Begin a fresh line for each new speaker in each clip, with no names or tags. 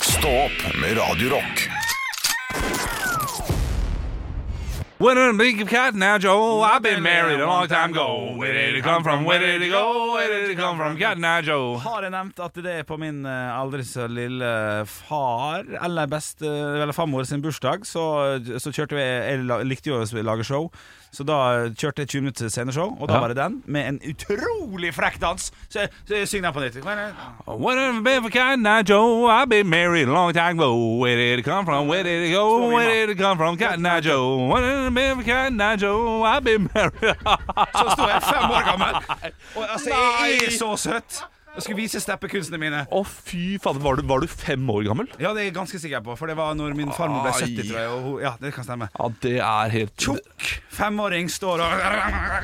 Stå opp med Radio Rock.
When a big cat now, Joe, I've been married a long time ago. Where did it come from? Where did it go? Where did it come from? Cat now, Joe.
Har jeg nevnt at det er på min eh, aldri så lille far eller beste eller farmor sin bursdag, så, så kjørte vi Jeg la- likte jo å lage show, så da kjørte jeg 20 minutter sceneshow, og da
Ja.
var det den, med en utrolig frekk dans. Så jeg, så jeg synger den på nytt. eh,
When a big cat now, Joe, I've been married a long time ago. Where did it come from? Where did it go? Where did it come from? Cat now, Joe. When a big cat now, Joe, I've been married.
Så står jeg fem år gammel, og altså, jeg er så søt. Jeg skulle vise steppekunstene mine.
Å, fy fader, var, du- var du fem år gammel?
Ja, det er jeg ganske sikker på, for det var når min farmor ble 70, tror jeg. Og hun, ja, det kan stemme.
Ja, det er helt
Tjukk femåring står og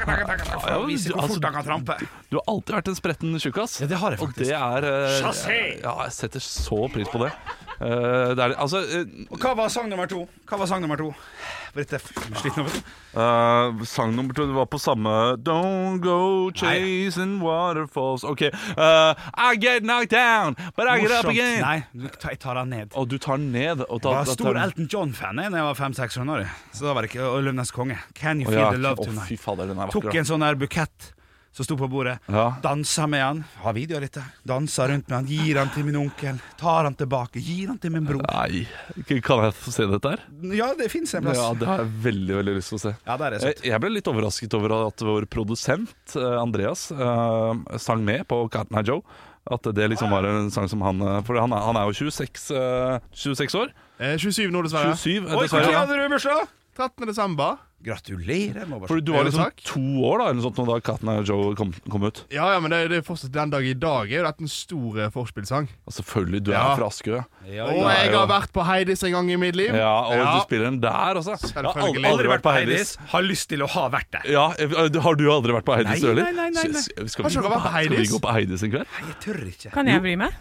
For å vise hvor fort han kan trampe.
Du har alltid vært en spretten tjukkas.
altså, Ja, det har jeg
Og det er eh, Ja, jeg setter så pris på det. Eh, det er, altså eh,
Og hva var sang nummer to? Hva var sang nummer to? Britte, sliten over.
Eh, sang nummer to det var på samme Don't go chasing waterfalls. OK. eh, I get knocked down, but I get up again.
Nei, du, ta- jeg tar han ned.
Og du tar den ned og
Jeg
tar,
var stor Elton John-fan jeg da jeg var 500-600 år. Så da var det ikke Og Løvenes konge. Can you
Å,
feel
ja.
the love
Å, fy
tonight?
fader, den er
Tok
vakker.
en sånn her bukett som sto på bordet.
Ja.
Dansa med han. Har video av dette. Dansa rundt med han. Gir han til min onkel. Tar han tilbake. Gir han til min bror.
Nei, ikke- kan jeg få se dette her?
Ja, det fins en plass.
Ja, Eh, Det har jeg veldig veldig lyst til å se.
Ja, der er det søtt.
Jeg- Jeg ble litt overrasket over at vår produsent eh, Andreas eh, sang med på Cartna Joe. At det
Ah.
liksom var en sang som han eh, For han er, han er jo 26, eh, 26 år.
Eh, 27 nå, dessverre.
27, eh,
Oi, når
dessverre.
hadde du bursdag?
13. desember.
Gratulerer. må jeg bare si.
Fordi du var
Jo,
liksom
takk.
to år da eller noe sånt når da Cartna Joe kom, kom ut.
Ja, ja, men det, det er fortsatt den dag i dag. Er jo dette en stor eh, forspillsang?
Og selvfølgelig, du
Ja.
er fra Askøy.
Ja,
Og
ja,
jeg
ja.
har vært på Heidis en gang i mitt liv.
Ja, og
Ja.
du spiller den der altså. også. Jeg har
Selvfølgelig.
aldri, aldri vært på Heidis.
Har lyst til å ha vært der.
Ja, eh, Har du aldri vært på Heidis,
Nei,
du heller?
nei, nei, nei, nei.
Skal, skal,
Har
vi gå på,
ikke dere vært på
skal vi
Heidis?
gå på Heidis en kveld?
Jeg tør ikke.
Kan jeg bli med?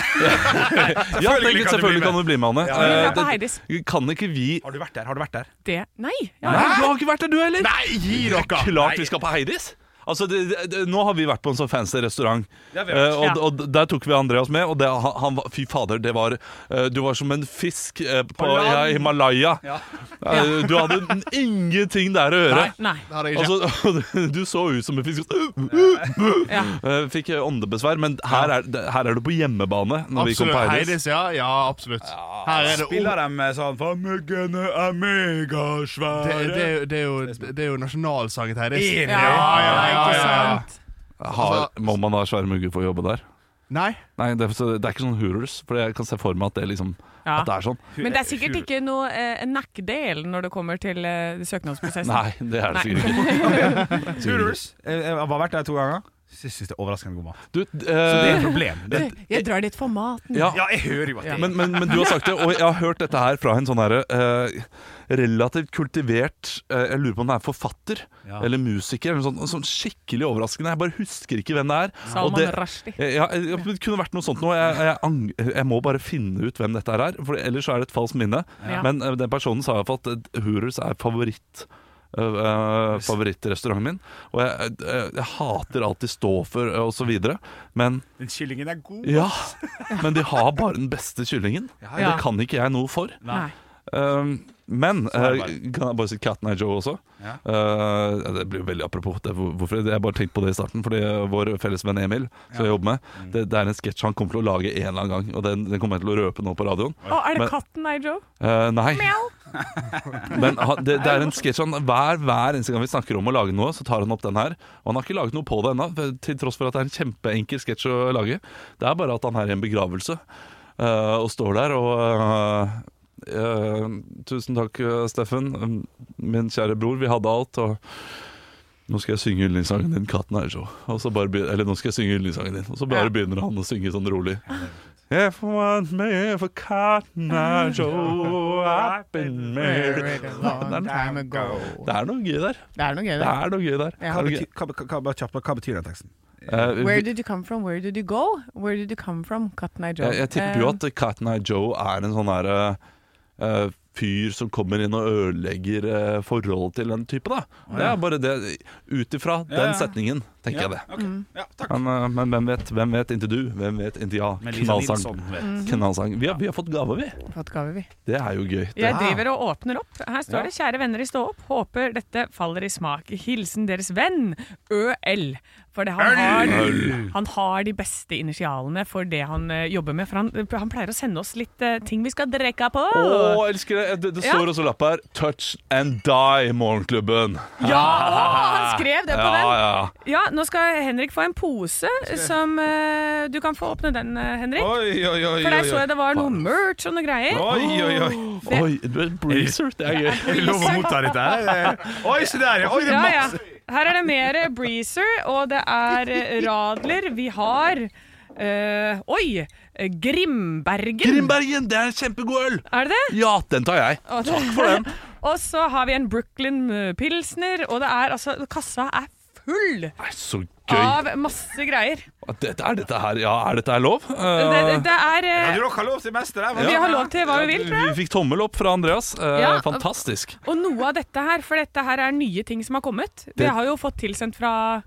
Ja,
Selvfølgelig
selvfølgelig,
kan du
selvfølgelig
bli
kan du bli med, Anne.
Kan jeg
Eh,
dra på
det-
Heidis?
Kan ikke vi
Har du vært der? Har du vært der?
Det Nei. Ja.
Nei, du har ikke vært der, du heller!
Nei, gi dere!
Klart vi skal på Heidis! Altså, det, det, det, Nå har vi vært på en sånn fancy restaurant,
Ja, vi har
Eh,
vært.
og,
Ja.
og der tok vi Andreas med. Og det, han, han var, Fy fader, det var eh, Du var som en fisk eh, på ja,
land.
Himalaya.
Ja.
Eh, du hadde n- ingenting der å gjøre.
Nei.
Det hadde jeg ikke.
Altså, du så ut som en fisk.
Ja.
Eh, Fikk åndebesvær, men her er, det- her er du på hjemmebane. Når vi kom
absolutt.
på Heidis
Heidis, ja. Ja, absolutt. Her er det ord.
Spiller de med sånn Fameggene er
Det,
megasvære
det, er jo- det, er jo- det er jo nasjonalsangen til Heidis.
Er det?
Ja, ja, ikke
ja.
sant?
har, Må man ha svære mugger for å jobbe der?
Nei?
Nei, det er, så, det er ikke sånn Hooters, for jeg kan se for meg at det, liksom,
Ja.
at det er sånn.
Men det er sikkert ikke noe eh, neckdel når det kommer til eh, søknadsprosessen.
Nei, det er det
Nei.
sikkert ikke.
Hooters. Jeg jeg har vært der to ganger. Jeg syns det er overraskende god mat.
Du,
Så det
eh,
er et problem. Det,
Jeg drar dit for maten.
ja,
ja, jeg hører jo at det
men, men, men du har sagt det, og jeg har hørt dette her fra en sånn herre eh, relativt kultivert eh, Jeg lurer på om det er forfatter
Ja.
eller musiker. Eller sånn, sånn skikkelig overraskende. Jeg bare husker ikke hvem det er. og
Salman
det,
Rushdie.
Eh, ja, ja, det kunne vært noe sånt nå. Jeg, jeg, ang- jeg må bare finne ut hvem dette her er, for ellers så er det et falskt minne.
Ja.
Men eh, den personen sa iallfall at eh, Hooters er favoritt. eh, eh, favorittrestauranten min. Og jeg, eh, jeg hater alt de står for, eh, og så videre. Men
Den kyllingen er god.
ja, men de har bare den beste kyllingen.
ja.
Det kan ikke jeg noe for.
Nei.
Um, men
er det
eh, kan jeg bare si Cat Night Joe også?
Ja.
Eh, det blir jo veldig apropos det, hvor- hvorfor, Jeg bare tenkte på det i starten. Fordi eh, vår felles venn Emil, som jeg jobber med,
Mm.
det, det er en sketsj han kommer til å lage en eller annen gang. Og den, den kommer jeg til å røpe nå på radioen.
Å, er det
Men-
katten, nei, Joe?
Eh, nei.
Mjau.
Men ha- det, det er en sketsj han hver, hver eneste gang vi snakker om å lage noe, så tar han opp den her. Og han har ikke laget noe på det ennå, for- til tross for at det er en kjempeenkel sketsj å lage. Det er bare at han er i en begravelse eh, og står der og eh, eh, Tusen takk, eh, Steffen. Mm, Min kjære bror, vi hadde alt. og nå skal jeg synge yndlingssangen din, 'Katten er så'. Og så bare begynner, eller nå skal jeg synge yndlingssangen din. Og så bare
Ja.
begynner han å synge sånn rolig. If you want me for cotton eye Joe, I've been married a long time ago. Det er noe gøy der.
Det er noe gøy,
Det
det.
er noe gøy der.
Ja.
Er
Hva
det
betyr,
gøy?
hva, hva, hva, bare kjapt, hva betyr den teksten?
Eh, vi-
Where did you come from? Where did you go? Where did you come from, Cotton Eye Joe?
jeg, jeg tipper jo
Eh,
at Cotton Eye Joe er en sånn derre fyr som kommer inn og ødelegger eh, forholdet til den type, da. Det er bare det Ut ifra
Ja, ja.
den setningen tenker jeg det.
ok. Ja, takk.
Men, eh, men hvem vet? Hvem vet inntil du? Hvem vet inntil ja?
Melissa
Knallsang.
Nilsson vet.
Mhm.
Knallsang. Vi har, vi har fått gave, vi.
Fått gave, Eh, vi.
Det er jo gøy.
Jeg driver og åpner opp. Her står det 'Kjære venner i Stå opp'. Håper dette faller i smak. Hilsen deres venn ØL. For det han, har, han har de beste initialene for det han eh, jobber med. For han, han pleier å sende oss litt eh, ting vi skal drikke på.
Å, elsker det! Det, det
Ja.
står også lapp her. 'Touch and die', Morgenklubben.
Ja! Han skrev det
ja,
på den.
Ja.
Ja, nå skal Henrik få en pose som eh, Du kan få åpne den, eh, Henrik.
Oi, oi, oi, oi,
For der så
oi.
jeg det var noe merch og noe greier.
Oi, oi, oi.
Det-
Oi, du er breezer. Det er gøy.
Er det lov å motta dette her? Oi, se der, ja. Oi, det
Ja,
er
ja.
masse.
Her er det mer Breezer, og det er eh, Radler. Vi har eh, Oi! eh, Grimbergen.
Grimbergen, det er en kjempegod øl!
Er det det?
Ja, den tar jeg.
Og det-
Takk for den.
og så har vi en Brooklyn eh, Pilsner, og det er altså Kassa er full
Nei, så gøy.
av masse greier.
Dette, er dette her ja, er dette her lov? Eh,
Det, det, det er
Ja,
eh,
du har lov til mester her. hva?
Vi har lov til hva vi vil, tror jeg.
vi fikk tommel opp fra Andreas. Eh,
Ja.
Fantastisk.
Og noe av dette her, for dette her er nye ting som har kommet. Det,
Det-
har jo fått tilsendt fra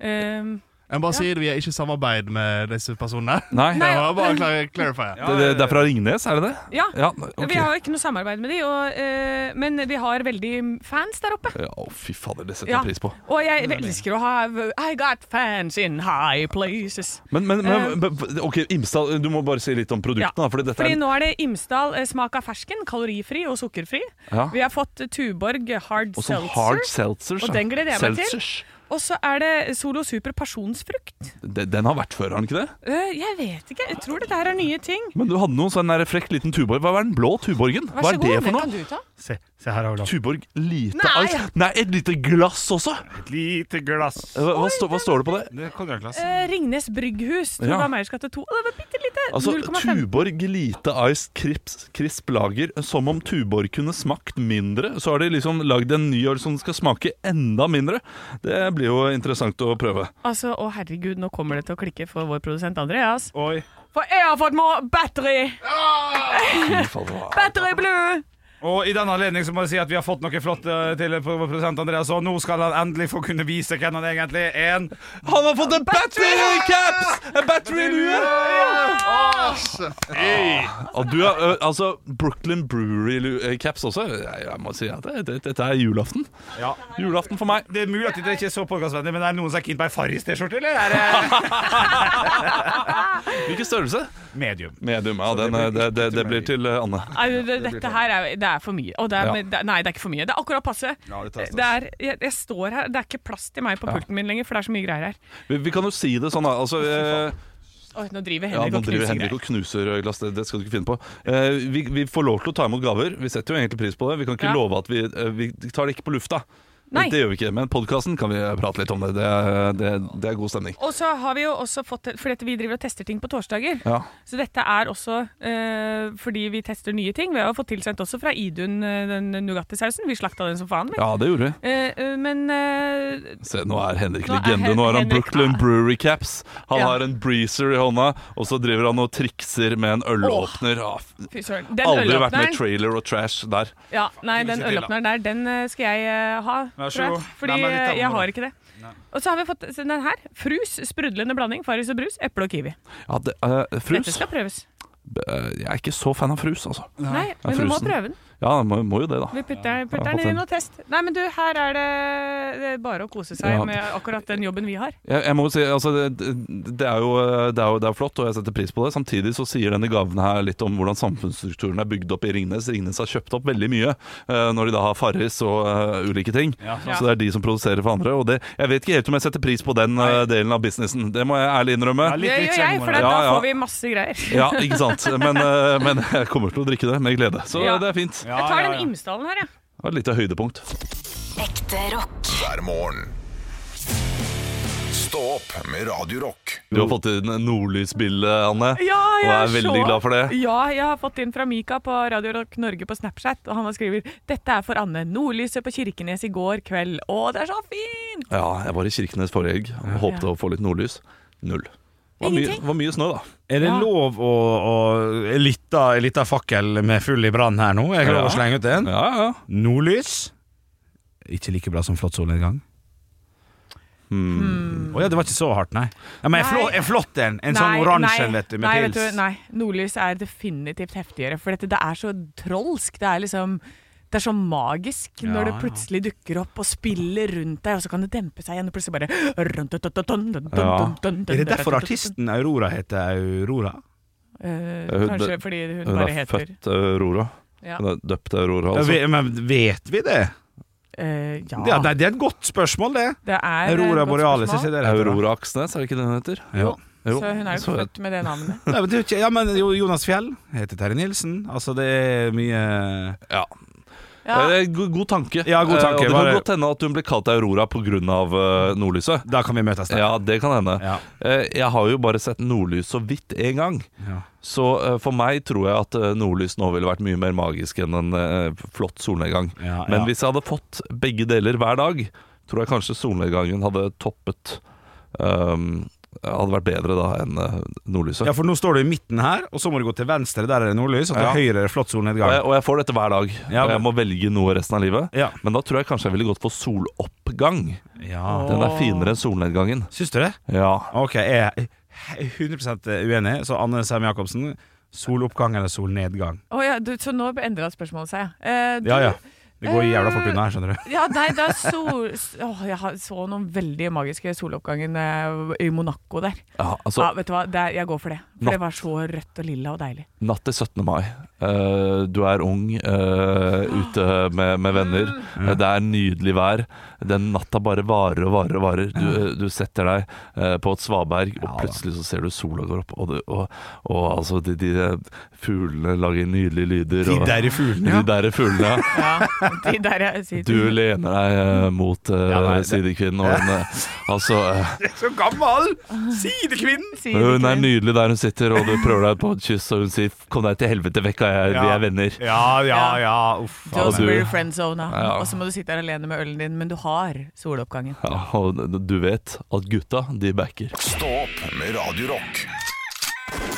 ehm,
Jeg må bare si det, vi er ikke i samarbeid med disse personene.
Nei,
Nei.
Det var bare clar- clarify.
Det, det, det er fra Ringnes, er det det?
Ja.
Ja, ok.
Vi har jo ikke noe samarbeid med de, og, eh, men vi har veldig fans der oppe.
Ja, å, fy fader, det setter
Ja.
jeg pris på.
Og jeg elsker å ha I got fans in high places.
Men, men, men b- ok, Imstad, du må bare si litt om produktene.
Eh. Ja.
da, Fordi dette
Fordi
er
nå er det Imsdal eh, smak av fersken, kalorifri og sukkerfri.
Ja.
Vi har fått eh, Tuborg hard
Og sånn
seltzer.
hard seltzers.
Og
ja.
den gleder jeg meg til.
Seltzers.
Og så er det Solo Super pasjonsfrukt.
Den, den har vært før, har den ikke det?
Eh, jeg vet ikke. Jeg tror dette her er nye ting.
Men du hadde noen sånn der frekk liten Tuborg. Hva var den blå Tuborgen?
Vær
Hva
så
er
god,
det for
den
noe?
kan du ta.
Se, se her har du lov.
Tuborg lite
Nei.
ice. Nei, et lite glass også.
Et lite glass.
Hva, hva, står- hva står det på det?
Det er konjakkglass.
Eh, Ringnes brygghus. Tror
Ja.
det var Meieriskatte 2. Å, det var bitte lite.
Altså,
0,5.
Tuborg lite ice crisp, crisp lager. Som om Tuborg kunne smakt mindre. Så har de liksom lagd en ny øl som skal smake enda mindre. Det blir jo interessant å prøve.
Altså, å herregud, nå kommer det til å klikke for vår produsent Andreas.
Oi.
For jeg har fått må battery!
Fy fader.
Battery blue!
Og i den anledning så må jeg si at vi har fått noe flott eh, til vår produsent Andreas, og nå skal han endelig få kunne vise hvem han egentlig er. En
Han har fått en battery caps! En batterylue! Ah, Og du har, ø, altså, Brooklyn Brewery lu- eh, caps også. Jeg, jeg må si at det- det- dette er julaften.
Ja.
Julaften for meg.
Det er mulig at dere ikke er så podkastvennlige, men er det noen som er keen på ei Farris-T-skjorte, eller? Er
Hvilken størrelse?
det medium?
Medium. Ja, den, eh, det, det, det blir til eh, Anne.
Nei, det- det- Dette her er, det er for mye. Og det er,
Ja.
men det- Nei, det er ikke for mye. Det er akkurat passe.
Ja, det tar
Det er, jeg, jeg står her, det er ikke plass til meg på pulten min lenger, for det er så mye greier her.
Vi, vi kan jo si det sånn, da. Altså, eh,
Oi, nå driver
ja,
Henrik
nå
og
driver
knuser
Henrik og
greier.
knuser eh, glass, det, det skal du ikke finne på. Eh, vi, vi får lov til å ta imot gaver. Vi setter jo egentlig pris på det. Vi kan ikke
Ja.
love at vi, eh, vi tar det ikke på lufta.
Nei.
Det gjør vi ikke, men podkasten kan vi eh, prate litt om det. Det er, det, det er god stemning.
Og så har vi jo også fått Fordi at vi driver og tester ting på torsdager.
Ja.
Så dette er også eh, fordi vi tester nye ting. Vi har jo fått tilsendt også fra Idun eh, den nougattisausen. Vi slakta den som faen. vi.
ja, det gjorde vi.
Eh, eh, men eh,
Se, nå er Henrik
Nå er
legende. Nå har han
Henrik-
Brooklyn Brewery Caps. Han
Ja.
har en breezer i hånda, og så driver han og trikser med en ølåpner. Ja, f-
fy søren. Den
aldri vært med i
ølåpneren
trailer og trash der.
ja, Nei,
Ikke
den
sitt illa.
ølåpneren der, den eh, skal jeg eh, ha.
Vær så
tror jeg.
god.
Fordi
Nei, men litt av
eh, jeg
den, da.
har ikke det. Og så har vi fått se den her. Frus sprudlende blanding. Farris og brus. Eple og kiwi.
Ja, det, eh,
Dette
frus?
skal prøves.
Eh, jeg er ikke så fan av frus, altså.
Nei, men vi må
frusen.
prøve den.
Ja, må, må jo det, da.
Vi putter,
Ja,
putter
fått
den
den.
inn og test. Nei, men du, her er det, det er bare å kose seg
Ja.
med akkurat den jobben vi har.
Jeg, jeg må jo si, altså, det, det, er jo, eh, det, er jo, det er flott, og jeg setter pris på det. Samtidig så sier denne gaven her litt om hvordan samfunnsstrukturen er bygd opp i Ringnes. Ringnes har kjøpt opp veldig mye eh, når de da har Farris og eh, ulike ting.
Ja.
Så det er de som produserer for andre. Og det, jeg vet ikke helt om jeg setter pris på den eh, delen av businessen. Det må jeg ærlig innrømme.
Ja, litt-
Det
litt
gjør jeg,
selvmord, ja.
for da
Ja, ja.
får vi masse greier.
Ja, ikke sant. Men, eh, men jeg kommer til å drikke det med glede. Så
Ja.
det er fint.
Ja,
Jeg tar
ja,
den
ja.
Imsdalen her, jeg.
Det var Et lite høydepunkt.
Ekte rock.
hver morgen. Stå opp med Radio Rock.
Du har fått inn nordlysbildet, Anne.
Ja, jeg
Og er veldig
så-
glad for det.
Ja, jeg har fått inn fra Mika på Radio Rock Norge på Snapchat, og han har skriver 'Dette er for Anne. Nordlyset på Kirkenes i går kveld'. Å, det er så fint!
Ja, jeg var i Kirkenes forrige helg og håpte å få litt nordlys. Null. Det var mye,
Ingenting.
var mye snø, da.
Er det
Ja.
lov å, å en liten- en liten fakkel med full i brann her nå? Jeg kan
Ja.
lov å slenge ut en.
Ja, ja.
Nordlys. Ikke like bra som flott sol en gang. Hmm. Å ja, det var ikke så hardt, nei. Ja, men en
Nei.
flott, en, flott en, en sånn
Nei,
oransje
nei,
en, vet du, med
nei,
pils.
vet du, Nei, nordlys er definitivt heftigere, for dette, det er så trolsk. Det er liksom det er så magisk
Ja,
når det
ja.
plutselig dukker opp og spiller rundt deg, og så kan det dempe seg igjen, og plutselig bare
Ja.
Er det derfor artisten Aurora heter Aurora?
Eh,
Hun-
Kanskje fordi hun
Hun
bare
er
heter
født eh, Aurora.
Ja.
Hun er døpt Aurora,
Ja,
altså.
vi, men vet vi det?
Eh,
Ja,
Ja,
nei, det er et godt spørsmål, det.
det er et
Aurora
godt
borealis,
spørsmål.
ikke det? det heter, da?
Aurora Aksnes, er det ikke det hun heter?
Jo.
Jo.
Så hun er jo
Så-
født med det navnet.
Nei, men det er jo ikke, ja, men jo, Jonas Fjell heter Terje Nilsen. Altså, det er mye
Ja.
Ja,
Eh, God, god tanke.
Ja, god
Eh,
tanke,
og det kan
bare-
godt hende at hun ble kalt Aurora pga. Uh, nordlyset.
Da kan vi møtes der.
Ja, det kan hende.
Ja.
Eh, Jeg har jo bare sett nordlys så vidt én gang.
Ja.
Så eh, for meg tror jeg at eh, nordlys nå ville vært mye mer magisk enn en eh, flott solnedgang.
Ja,
Men
ja.
hvis jeg hadde fått begge deler hver dag, tror jeg kanskje solnedgangen hadde toppet ehm, Hadde vært bedre da enn eh, nordlyset.
Ja, for nå står du i midten her, og så må du gå til venstre, der er det nordlys, og til
Ja.
høyre er det
og,
flott
jeg,
solnedgang.
og jeg får dette hver dag.
Ja,
og jeg
men-
må velge noe resten av livet.
Ja.
Men da tror jeg kanskje jeg ville gått for soloppgang.
ja.
Den er
Åh.
finere enn solnedgangen.
Syns du det?
Ja.
Ok, jeg er 100 uenig, så Anne Sem Jacobsen, soloppgang eller solnedgang?
Å ja du, så nå endra spørsmålet seg. Eh, du-
Ja ja, det går jævla fort unna her, skjønner du.
Ja, nei, det er sol... s- Åh, jeg har- så noen veldig magiske soloppgangen eh, i Monaco der.
ja altså,
ja, vet du hva, det er, jeg går for det.
Natt.
For det var så rødt og lilla og deilig.
Natt til 17. mai. Eh, du er ung, eh, ute med, med venner. Eh, Det er nydelig vær. Den natta bare varer og varer og varer. Du, eh, du setter deg eh, på et svaberg, og plutselig så ser du sola går opp. Og, det, og, og altså, de, de fuglene lager nydelige lyder.
De
og-
der fuglene, ja.
De der fuglene, ja.
Ja, de der jeg sier
Du lener deg eh, mot eh,
Ja, nei, det-
sidekvinnen, og hun, eh, altså, eh,
Så gammel! Sidekvinnen!
sier det
hun er
ikke.
nydelig der hun sitter, og du prøver deg på et kyss, og hun sier 'kom deg til helvete vekk, jeg, vi
Ja.
er venner'.
Ja, ja, ja. Uff.
Så
Og
også
du-
blir du friendzona,
Ja.
og så må du sitte her alene med ølen din, men du har soloppgangen.
Ja, og du vet at gutta, de backer.
Stå opp med Radio Rock.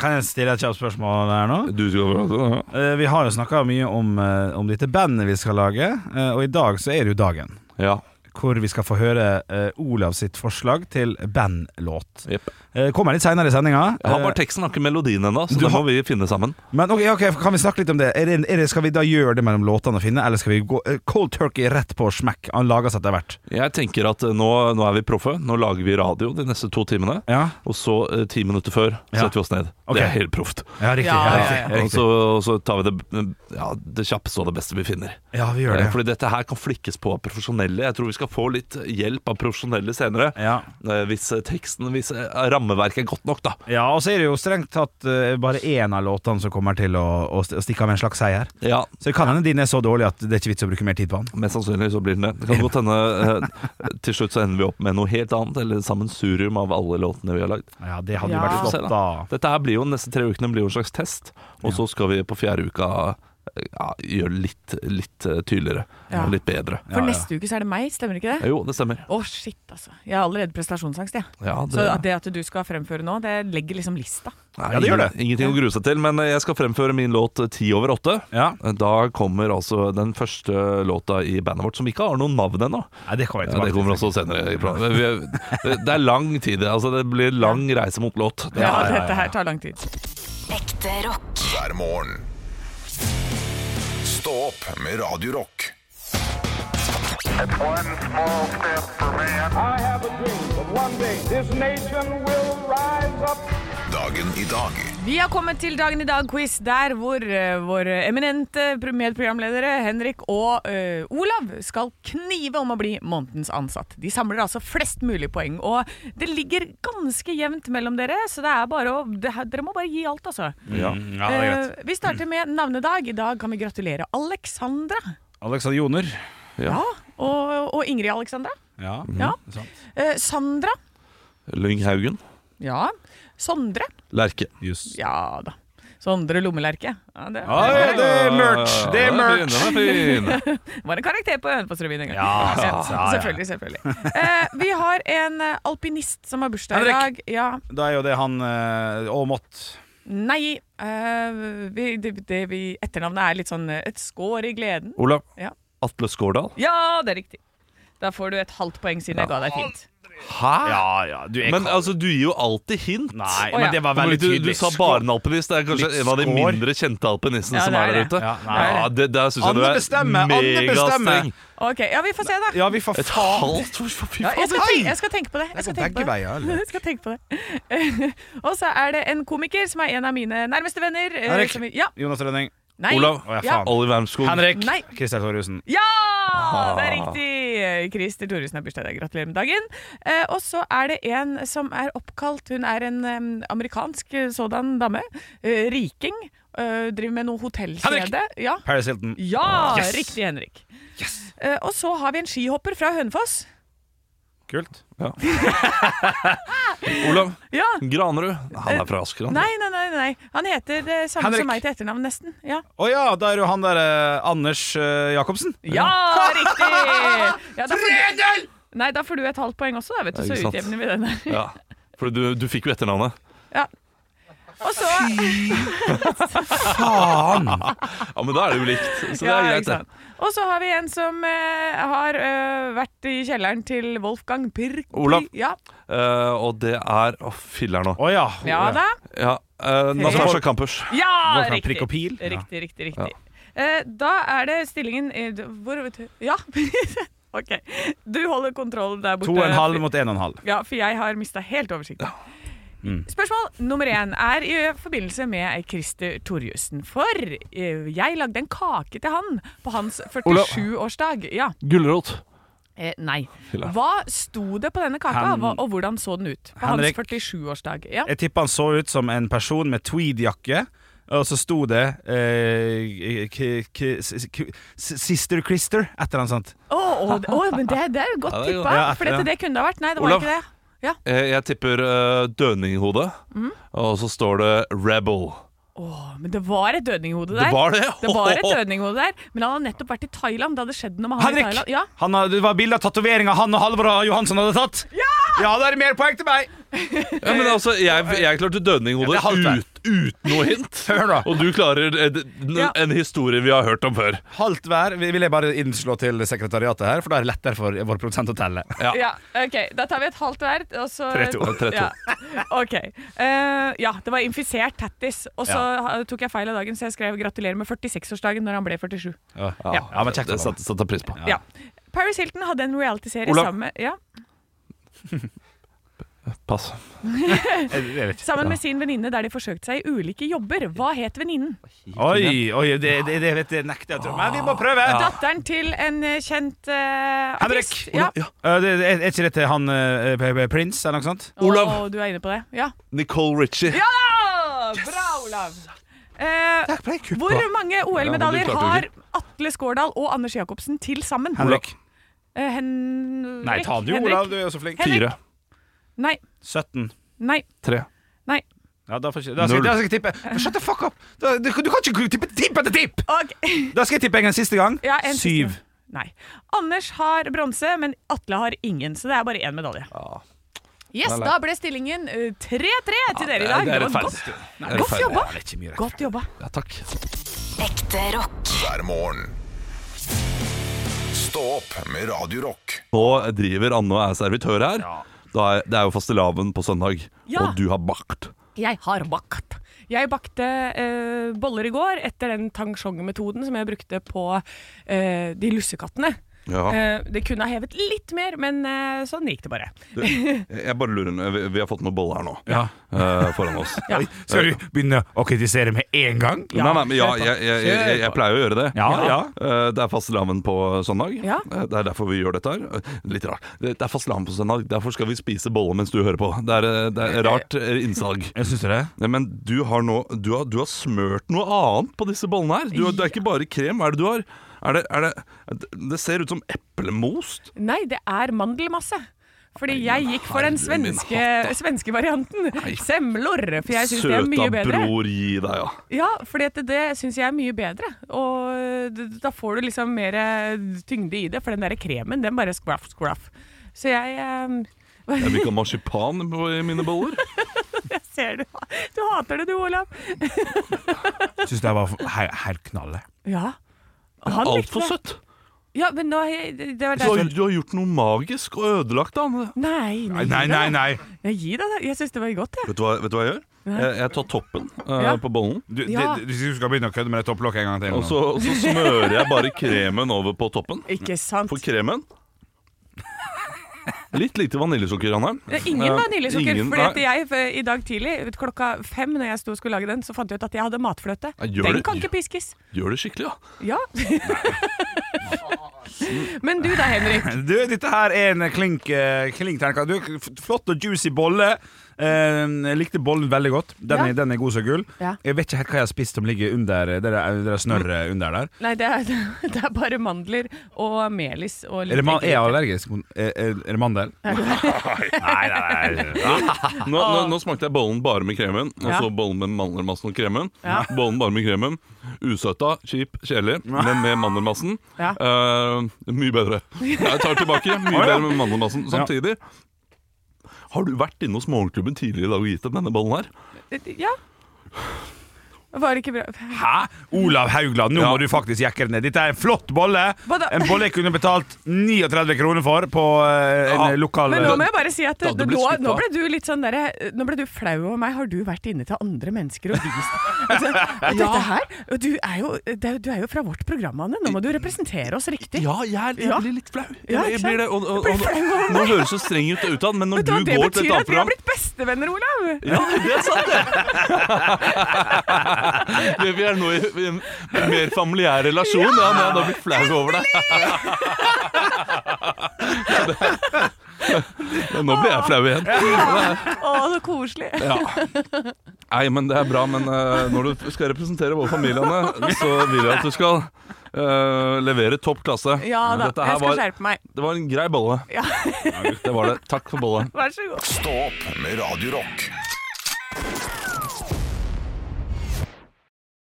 Kan jeg stille et kjapt spørsmål der nå?
Du skal prate, ja.
Eh, Vi har jo snakka mye om, eh, om dette bandet vi skal lage, eh, og i dag så er det jo dagen.
Ja.
Hvor vi skal få høre eh, Olav sitt forslag til bandlåt.
Jepp.
Eh, Kommer litt seinere i sendinga.
Jeg har
Eh,
bare teksten, har ikke melodien ennå, så
Du
det må
har-
vi finne sammen.
Men ok, ok, kan vi snakke litt om det? Er det, er det skal vi da gjøre det mellom låtene og finne, eller skal vi gå eh, cold turkey rett på smekk? Han lager seg etter hvert.
Jeg tenker at eh, nå, nå er vi proffe. Nå lager vi radio de neste to timene.
Ja,
Og så eh, ti minutter før
Ja.
setter vi oss ned.
Ok.
Det er helt proft. Eh,
ja riktig. Ja,
Ja, ja,
riktig,
Og, så,
riktig.
og så tar vi det, eh, ja, det kjappeste og det beste vi finner.
ja vi gjør
Eh,
det.
Fordi dette her kan flikkes på av profesjonelle. Jeg tror vi skal få litt hjelp av profesjonelle senere.
Ja.
Eh, Hvis eh, teksten, hvis eh, rammeverket er godt nok, da.
ja, og så er det jo strengt tatt eh, bare én av låtene som kommer til å, å st- å stikke av med en slags seier.
Ja,
Så det kan hende din er så dårlig at det er ikke vits å bruke mer tid på den.
Mest sannsynlig så blir den det. Det kan godt hende eh, til slutt så ender vi opp med noe helt annet, eller sammensurium av alle låtene vi har lagd.
Ja, det hadde
Ja.
jo vært flott, da.
Dette her blir jo Neste tre ukene blir jo en slags test, og så skal vi på fjerde uka eh, ja, gjøre det litt, litt eh, tydeligere
Ja.
og litt bedre.
For
Ja, ja.
neste uke så er det meg, stemmer ikke det?
Jo, det stemmer.
Å, shit, altså. Jeg har allerede prestasjonsangst, jeg.
Ja, det,
Så at det at du skal fremføre nå, det legger liksom lista.
Nei,
Ja, det gjør det.
ingen- Ingenting å grue seg til, men eh, jeg skal fremføre min låt eh, ti over åtte.
Ja.
Eh, Da kommer altså den første låta i bandet vårt som ikke har noe navn ennå.
Nei, det kommer jeg
Ja, det
tilbake
kommer også senere. i programmet. Vi er- Det er lang tid. Altså, det blir lang reise mot låt.
Ja, dette her tar lang tid.
Ekte rock.
hver morgen. Stå opp med Radio Rock.
One small step for man.
I have a dream that one day this nation will rise up.
Dagen i dag
Vi har kommet til Dagen i dag-quiz, der hvor eh, våre eminente pro- medprogramledere Henrik og eh, Olav skal knive om å bli månedens ansatt. De samler altså flest mulig poeng, og det ligger ganske jevnt mellom dere, så det er bare å det, her- Dere må bare gi alt, altså.
Ja.
Ja, det er greit.
Eh, vi starter med navnedag. I dag kan vi gratulere Alexandra.
Alexander Joner.
Ja. Og, og Ingrid Alexandra.
Ja.
Ja.
det er sant.
Eh, Sandra.
Lynghaugen.
Ja. Sondre.
Lerke.
Just.
Ja da. Sondre Lommelerke. Ja, det
Oi, det er merch! Det er merch!
Den er fin.
var en karakter på Hønefossrevyen en gang.
Ja, sant, ja, ja.
Selvfølgelig, selvfølgelig. Eh, vi har en eh, alpinist som har bursdag i dag.
Henrik.
Ja.
Da er jo det han eh, Aamodt.
Nei. eh, vi, det, det vi, etternavnet er litt sånn eh, et skår i gleden.
Olav.
Ja.
Atle Skårdal.
Ja, det er riktig. Da får du et halvt poeng siden jeg ga deg et hint.
Hæ?
Ja, ja, du er
Men
kald.
altså, du gir jo alltid hint.
Nei,
Å, ja.
men det var
Men
veldig
du, du
tydelig.
sa bare en alpinist. Det er kanskje
Litt
en av de
skår.
mindre kjente alpinistene
Ja,
som
det
er
er
der
det.
ute.
Ja, nei,
det er
det, der syns jeg du
Anne
er
bestemmer, Anne bestemmer.
megastreng.
Ok, Ja, vi får se, da.
Ja, vi får
Et
faen
halvt ord for fy
Ja, jeg,
faen.
skal tenke, jeg skal tenke på det. Jeg skal
går begge
tenke på det.
veier, eller?
Jeg skal tenke på det. Og så er det en komiker som er en av mine nærmeste venner. eh,
Henrik.
som vi- Ja,
Jonas Rønning.
nei.
Olav.
Å, ja,
Ja.
faen.
Olli Wermskog.
Henrik.
Nei.
Christer Thoresen.
Ja, det er riktig! Christer Thoresen har bursdag i dag. Gratulerer med dagen. Eh, og så er det en som er oppkalt Hun er en em, amerikansk eh, sådan dame. Eh, riking. Eh, driver med noe hotellkjede. Ja,
Paris Hilton.
ja
Yes.
riktig, Henrik. Eh, og så har vi en skihopper fra Hønefoss.
Kult.
Olav
Ja.
Granerud. Han er fra Asker, han.
Nei, nei, nei. nei. Han heter det samme
Henrik.
som meg til etternavn, nesten. Ja,
Å ja, da er jo han der eh, Anders eh, Jacobsen.
ja riktig! Ja, da får du... Nei, da får du et halvt poeng også, da, vet du,
Ja,
så
ikke sant.
utjevner vi den der.
Ja. For du, du fikk jo etternavnet.
Og så
Faen!
Ja, Men da er det jo likt. Så det
Ja,
er
ikke
greit, det.
sant. Og så har vi en som eh, har eh, vært i kjelleren til Wolfgang Pirk...
Olav.
Ja,
Eh, og det er Å, filler'n òg.
Å ja.
ja da.
Ja. Uh, Natasha Kampusch.
Ja,
Wolfgang
riktig.
Prikk og Pil. Ja.
Riktig, riktig, riktig. Eh, da er det stillingen eh, d- Hvor vet du? Ja. OK. Du holder kontroll der borte.
To og en halv mot en og en halv.
Ja, for jeg har mista helt oversikten.
Mm.
Spørsmål nummer én er i forbindelse med Christer Torjussen. For eh, jeg lagde en kake til han på hans 47-årsdag. Ja.
Gulrot.
Eh, nei.
Fylla.
Hva sto det på denne kaka,
Han-
hva- og hvordan så den ut? På
Henrik-
hans 47-årsdag. Ja.
Jeg tipper han så ut som en person med tweedjakke. Og så sto det eh, k k s- k s- Sister Christer, et eller annet sånt.
Å, å, det- å, men det, det er godt
Ja, det er
tippa.
godt.
Ja,
for dette,
ja.
det kunne det ha vært. Nei, det var
Olav.
ikke det.
Eh, jeg tipper eh, døninghode.
Mhm.
Og så står det Rebel.
Å, men det var et dødninghode der.
Det var det?
Det var et dødninghode der, men han hadde nettopp vært i Thailand. Det hadde skjedd noe med han i
Henrik!
Thailand. Ja.
Han har, det var bilde av tatoveringa han og Halvor Johansson hadde tatt. Ja! da er det mer poeng til meg.
Ja, men altså, jeg, jeg klarte dødninghode
Ja, det er halvt,
ut, uten noe hint.
Hør nå.
Og du klarer en, en,
Ja.
en historie vi har hørt om før.
Halvt hver vil jeg bare innslå til sekretariatet her, for da er det lettere for vår produsent å telle.
Ja, ok, Da tar vi et halvt hver. Og så,
3-2. Ja, 3-2.
Ja. Ok. Eh, ja, det var infisert tattis. Og så ha- tok jeg feil av dagen, så jeg skrev 'gratulerer med 46-årsdagen' når han ble 47.
Ja,
Ja.
ja men kjekt.
Det
da.
satte satte jeg pris på.
Ja. Paris Hilton hadde en realityserie
Olav.
sammen med ja,
Pass.
Jeg, jeg vet ikke.
Sammen med sin venninne der de forsøkte seg i ulike jobber. Hva het venninnen?
Oi, Ah. oi, det, det, det, vet jeg nekter jeg å tro. Men vi må prøve.
Ah.
Datteren til en eh, kjent eh,
Henrik!
artist. Ja.
Eh, det, det, er ikke det til han eh, P- P- Prince, eller noe sånt?
Olav.
Å, du er inne på det. Ja.
Nicole Ritchie.
ja! Bra, Olav. Eh, hvor mange OL-medaljer
Ja, men du klarte
har
det
Atle Skårdal og Anders Jacobsen til sammen?
Henrik.
Eh, Henrik.
Nei, ta det jo,
Henrik.
Olav. Du er jo så flink.
Henrik.
Fire.
Nei.
17.
Nei.
Tre.
Nei.
Ja, da, får ikke, da, skal,
Null.
da skal jeg tippe. Shut the fuck up! Da, du, du kan ikke tippe tipp etter tipp!
Ok.
Da skal jeg tippe en gang siste gang.
Ja, en siste.
Syv.
Nei. Anders har bronse, men Atle har ingen, så det er bare én medalje. Yes, da ble stillingen eh, 3-3 til dere i dag.
det er
Det var
rettferdig.
godt,
Det er
godt
rettferdig.
jobba.
Det er ikke mye rett.
Godt jobba.
Ja, takk.
Ekte rock.
hver morgen. Stå opp med Radio Rock.
Nå driver Anne og er servitør her. Da er, det er jo fastelavn på søndag,
Ja.
og du har bakt.
Jeg har bakt. Jeg bakte eh, boller i går etter den tangshong-metoden som jeg brukte på eh, de lussekattene.
Ja.
Eh, det kunne ha hevet litt mer, men eh, sånn gikk det bare.
Jeg bare lurer, vi, vi har fått noen boller her nå
Ja.
eh, foran oss.
Oi, Skal du begynne å kritisere med en gang?
Ja,
nei, nei, men ja,
kjør på.
jeg, jeg, jeg, jeg, jeg pleier å gjøre det.
Ja, ja.
Eh, Det er fastelavn på søndag.
Ja.
Eh, Det er derfor vi gjør dette her. Eh, Litt rart. Det det er fastelavn på søndag, derfor skal vi spise bolle mens du hører på. Det er, eh, det er rart eh, innsalg.
Jeg syns det.
Nei, Men du har, nå, du, har, du har smørt noe annet på disse bollene her. Du, har- Det er ikke bare krem. Hva er det du har? Er det, er det, det ser ut som eplemost.
Nei, det er mandelmasse. Fordi jeg gikk for den
herre min
svenske,
hatt, da.
svenske varianten. Semlor. For jeg syns det er mye
Søta
bedre.
bror, gi deg, ja.
Ja, for det, det syns jeg er mye bedre. Og d- da får du liksom mer eh, tyngde i det, for den der kremen, den bare scruff, scruff. Så jeg eh,
Jeg vil ikke ha marsipan på- i mine boller.
ser du, du hater det du, Olav.
Syns det var f- he- helt knallet.
Ja. Han likte
Altfor
det.
søtt.
Ja, men nå har jeg, det det var
Du har,
derfor.
du har gjort noe magisk og ødelagt han.
Nei, nei,
Nei, nei, nei.
Ja, gi deg, da. Jeg syns det var godt, jeg.
Vet du hva, vet du hva jeg gjør?
Nei.
Jeg, jeg tar toppen eh,
Ja.
på bollen,
Du, det,
Ja.
du du skal begynne å kødde med det topplokket en gang til.
og så, og så smører jeg bare kremen over på toppen.
Ikke sant.
På kremen Litt lite vaniljesukker, Ranheim.
Det er ingen
Eh,
vaniljesukker.
ingen-
fordi at
nei.
jeg eh, i dag tidlig, klokka fem når jeg sto og skulle lage den, så fant jeg ut at jeg hadde matfløte.
Ja, gjør
Den
det.
kan ikke piskes.
Gjør det skikkelig, ja.
Ja. Men du da, Henrik.
Du, dette her er en klink, eh, klink terningkast. Du, f- flott og juicy bolle. Eh, jeg likte bollen veldig godt. Den,
Ja.
er, den er god som gull.
Ja. Mm.
Jeg vet ikke helt hva jeg har spist som ligger under eh, det der, det der snørret under der.
Nei, det er, det er bare mandler og melis og litt
Er, det man, er jeg
eggerøre.
allergisk? mot- Er, er, er det mandel? Nei, nei, nei.
Nå, nå, nå smakte jeg bollen bare med kremen, og
Ah. Ja.
så bollen med mandelmassen og kremen.
Ja.
Bollen bare med kremen. Usøta, kjip, kjedelig, men med mandelmassen.
Ja.
Eh, mye bedre. Jeg tar tilbake. Mye bedre med mandelmassen. Samtidig Har du vært inne hos Morgenklubben tidligere i dag og gitt dem denne bollen her?
Ja. Var det ikke bra?
Hæ? Olav Haugland, nå
Ja.
må du faktisk jekke det ned. Dette er en flott bolle.
Hva da?
En bolle jeg kunne betalt 39 kroner for på eh, en
Ja.
lokal
Men nå må jeg bare si at
Da hadde du
nå,
blitt
nå
skuffet.
ble du litt sånn derre Nå ble du flau over meg. Har du vært inne til andre mennesker og vist altså, og Dette her og du er, jo, det er jo- du er jo fra vårt program, Anne. Nå må du representere oss riktig.
Ja, jeg, jeg
Ja.
blir litt flau.
Ja,
Jeg, jeg
ikke sant?
blir det, og, og,
Du
og,
blir flau over
nå høres det streng ut utad, men når
Vet du
du
hva det
går til et
betyr?
annet
At vi har
program
blitt bestevenner, Olav!
Ja, det er sant, det! det vi er nå i i en mer familiær relasjon. Ja, men jeg har da blitt flau over deg. Ja, Nå ble jeg flau igjen.
Å, så koselig.
Ja. Nei, men det er bra. Men eh, når du skal representere våre familiene, så vil jeg at du skal eh, levere topp klasse.
Ja da,
Dette
jeg
her
skal
var,
skjerpe meg.
det var en grei bolle.
Ja.
Det var det. Takk for bolle.
Vær så god.
Stå opp med Radio Rock.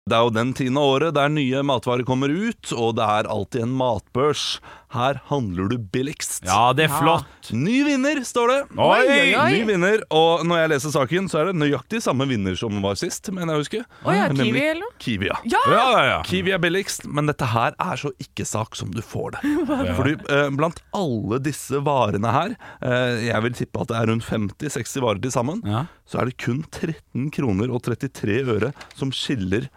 Det er jo den tiende av året der nye matvarer kommer ut, og det er alltid en matbørs. Her handler du billigst.
Ja, det er flott.
Ny vinner, står det.
Oi, oi, oi.
Ny vinner, Og når jeg leser saken, så er det nøyaktig samme vinner som var sist. Men jeg husker
Å ja,
Nemlig
Kiwi eller noe?
Kiwi, ja.
Ja!
Ja, ja, ja.
Kiwi er billigst, men dette her er så ikke-sak som du får det. Fordi eh, blant alle disse varene her, eh, jeg vil tippe at det er rundt 50-60 varer til sammen,
Ja.
så er det kun 13 kroner og 33 øre som skiller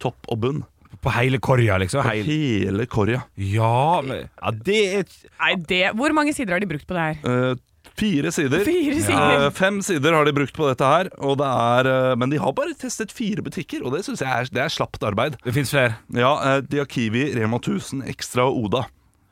topp og bunn.
På hele korja, liksom.
På
Heil.
hele korja.
Ja, men, ja, det er
Nei, det, hvor mange sider har de brukt på det her?
Eh, fire sider.
Fire sider.
Eh, fem sider har de brukt på dette her, og det er, eh, men de har bare testet fire butikker, og det syns jeg er, det er slapt arbeid.
Det fins flere.
Ja, eh, de har Kiwi, Rema 1000, Extra og Oda.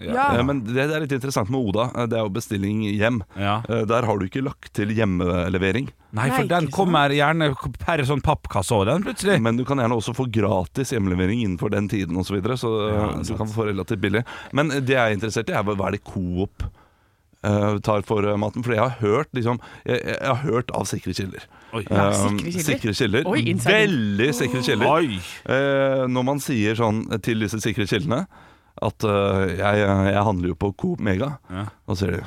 Ja.
Eh, Men det, det er litt interessant med Oda, eh, det er jo bestilling hjem.
Ja.
Eh, Der har du ikke lagt til hjemmelevering,
Nei,
Nei,
for den
ikke sant.
kommer gjerne per sånn pappkasse over den, plutselig.
men du kan gjerne også få gratis hjemmelevering innenfor den tiden osv., så, videre, så eh, du kan få relativt billig. Men det jeg er interessert i, er hva hva er det Coop eh, tar for eh, maten? For jeg har hørt, liksom, jeg, jeg har hørt av sikre kilder.
Ja,
Eh,
sikre kilder.
sikre kilder.
Oi, insider.
Veldig sikre kilder.
Oi!
Eh, når man sier sånn til disse sikre kildene at eh, jeg, jeg handler jo på Coop Mega,
Ja.
da sier de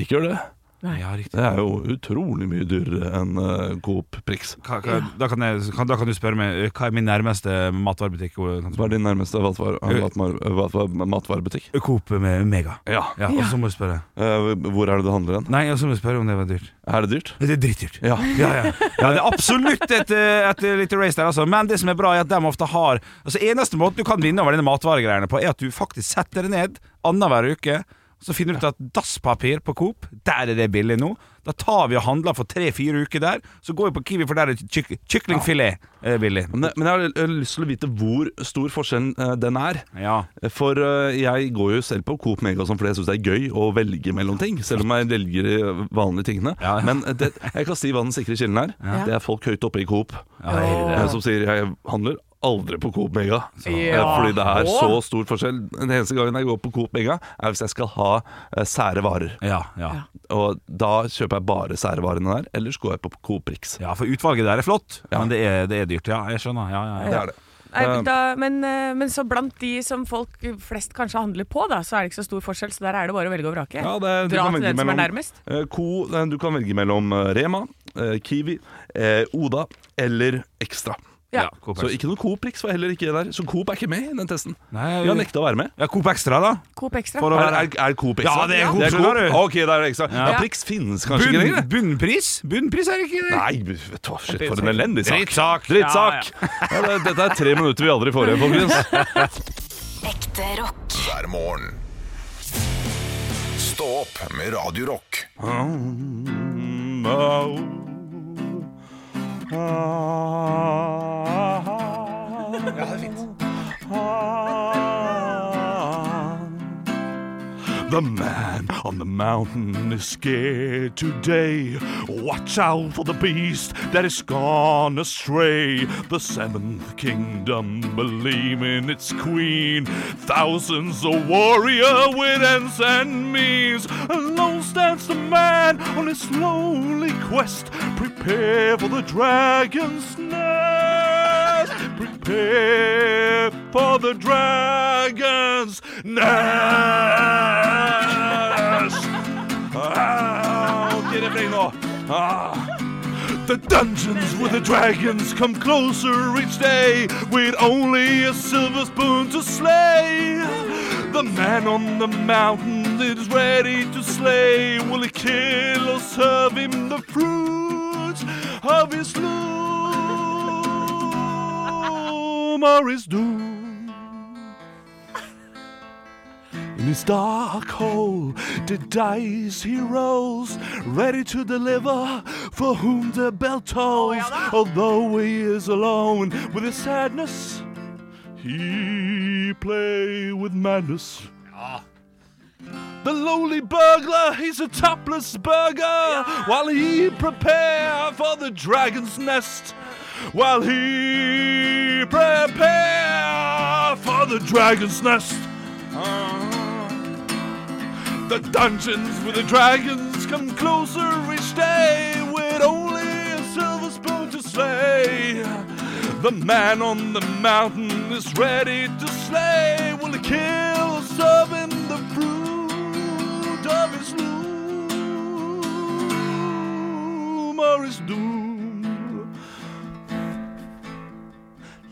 ikke gjør det.
Ja, riktig.
Det er jo utrolig mye dyrere enn eh, Coop Prix.
Hva, hva, da, kan jeg, kan, da kan du spørre meg hva er min nærmeste matvarebutikk? hvor jeg kan
Hva er din nærmeste matvar- matvar- matvar- matvarebutikk?
spørre? Coop med Mega.
Ja.
Ja, Og så må du spørre.
Eh, hvor er det du handler hen?
Nei, og så må du spørre om det var dyrt.
Er det dyrt?
Det er drittdyrt.
Ja.
Ja, ja. ja, det er absolutt et, eh, et lite race der, altså. Men det som er bra, er at de ofte har Altså Eneste måten du kan vinne over denne matvaregreiene på, er at du faktisk setter det ned annenhver uke. Så finner du ut at dasspapir på Coop, der er det billig nå. Da tar vi og handler for tre-fire uker der. Så går vi på Kiwi, for der er kyk kyklingfilet eh, billig.
Men, men jeg har eh, lyst til å vite hvor stor forskjellen eh, den er.
Ja.
For eh, jeg går jo selv på Coop Mega og sånn, fordi jeg syns det er gøy å velge mellom ting. Selv om jeg velger de vanlige tingene.
Ja, ja.
Men det, jeg kan si hva den sikre kilden er.
Ja.
Det er folk høyt oppe i Coop
Åh.
eh, som sier 'jeg handler aldri på Coop Mega'. Eh,
Ja.
Fordi det er så stor forskjell. Den eneste gangen jeg går på Coop Mega, er hvis jeg skal ha eh, sære varer.
Ja, ja.
Og da kjøper jeg bare særvarene der, ellers går jeg på Coop Prix.
ja, for utvalget der er flott, men det er, det er dyrt. Ja, jeg skjønner. Ja, ja,
Det
ja.
er det.
Nei,
Eh,
da, men, eh, men så blant de som folk flest kanskje handler på, da, så er det ikke så stor forskjell. Så der er det bare å velge og vrake.
Ja, det- du
Dra
kan
til
velge
den som er
mellom-
nærmest.
Eh, Co, eh, du kan velge mellom eh, Rema, eh, Kiwi, eh, Oda eller Ekstra.
Ja.
Coop
Så
Extra.
ikke noe Coop Rix var heller ikke der. Så Coop er ikke med i den testen.
Nei,
Vi har nekta å være med.
ja, Coop Extra, da.
Coop Extra.
For å-
Er, er, er Coop Extra?
Ja, det er Coop, skjønner du.
Ok, da er det Extra. Ja,
Ja.
Prix finnes kanskje ikke
Bunn,
lenger?
bunnpris? Bunnpris er ikke det.
Nei, vet du hva, shit, for en elendig sak.
Drittsak.
Drittsak. Ja, det, dette er tre minutter vi aldri får igjen, folkens.
Ekte rock.
hver morgen. Stå opp med Radio Rock.
Ah, Ja, det er fint. ah. The man on the mountain is scared today. Watch out for the beast that is gone astray. The seventh kingdom believe in its queen. Thousands a warrior with ends and means. Alone stands the man on his lonely quest. Prepare for the dragon's nest. Prepare for the dragon's nest. I'll get it, Bingo. Ah. The dungeons where the dragons come closer each day, with only a silver spoon to slay. The man on the mountain is ready to slay. Will he kill or serve him the fruits of his loom or his doom? In his dark hole, the dice he rolls, ready to deliver for whom the bell tolls. Although he is alone with his sadness, he play with madness. The lowly burglar, he's a topless burglar, while he prepare for the dragon's nest. While he prepare for the dragon's nest. The dungeons where the dragons come closer each day with only a silver spoon to slay. The man on the mountain is ready to slay. Will he kill or serve him the fruit of his loom or his doom?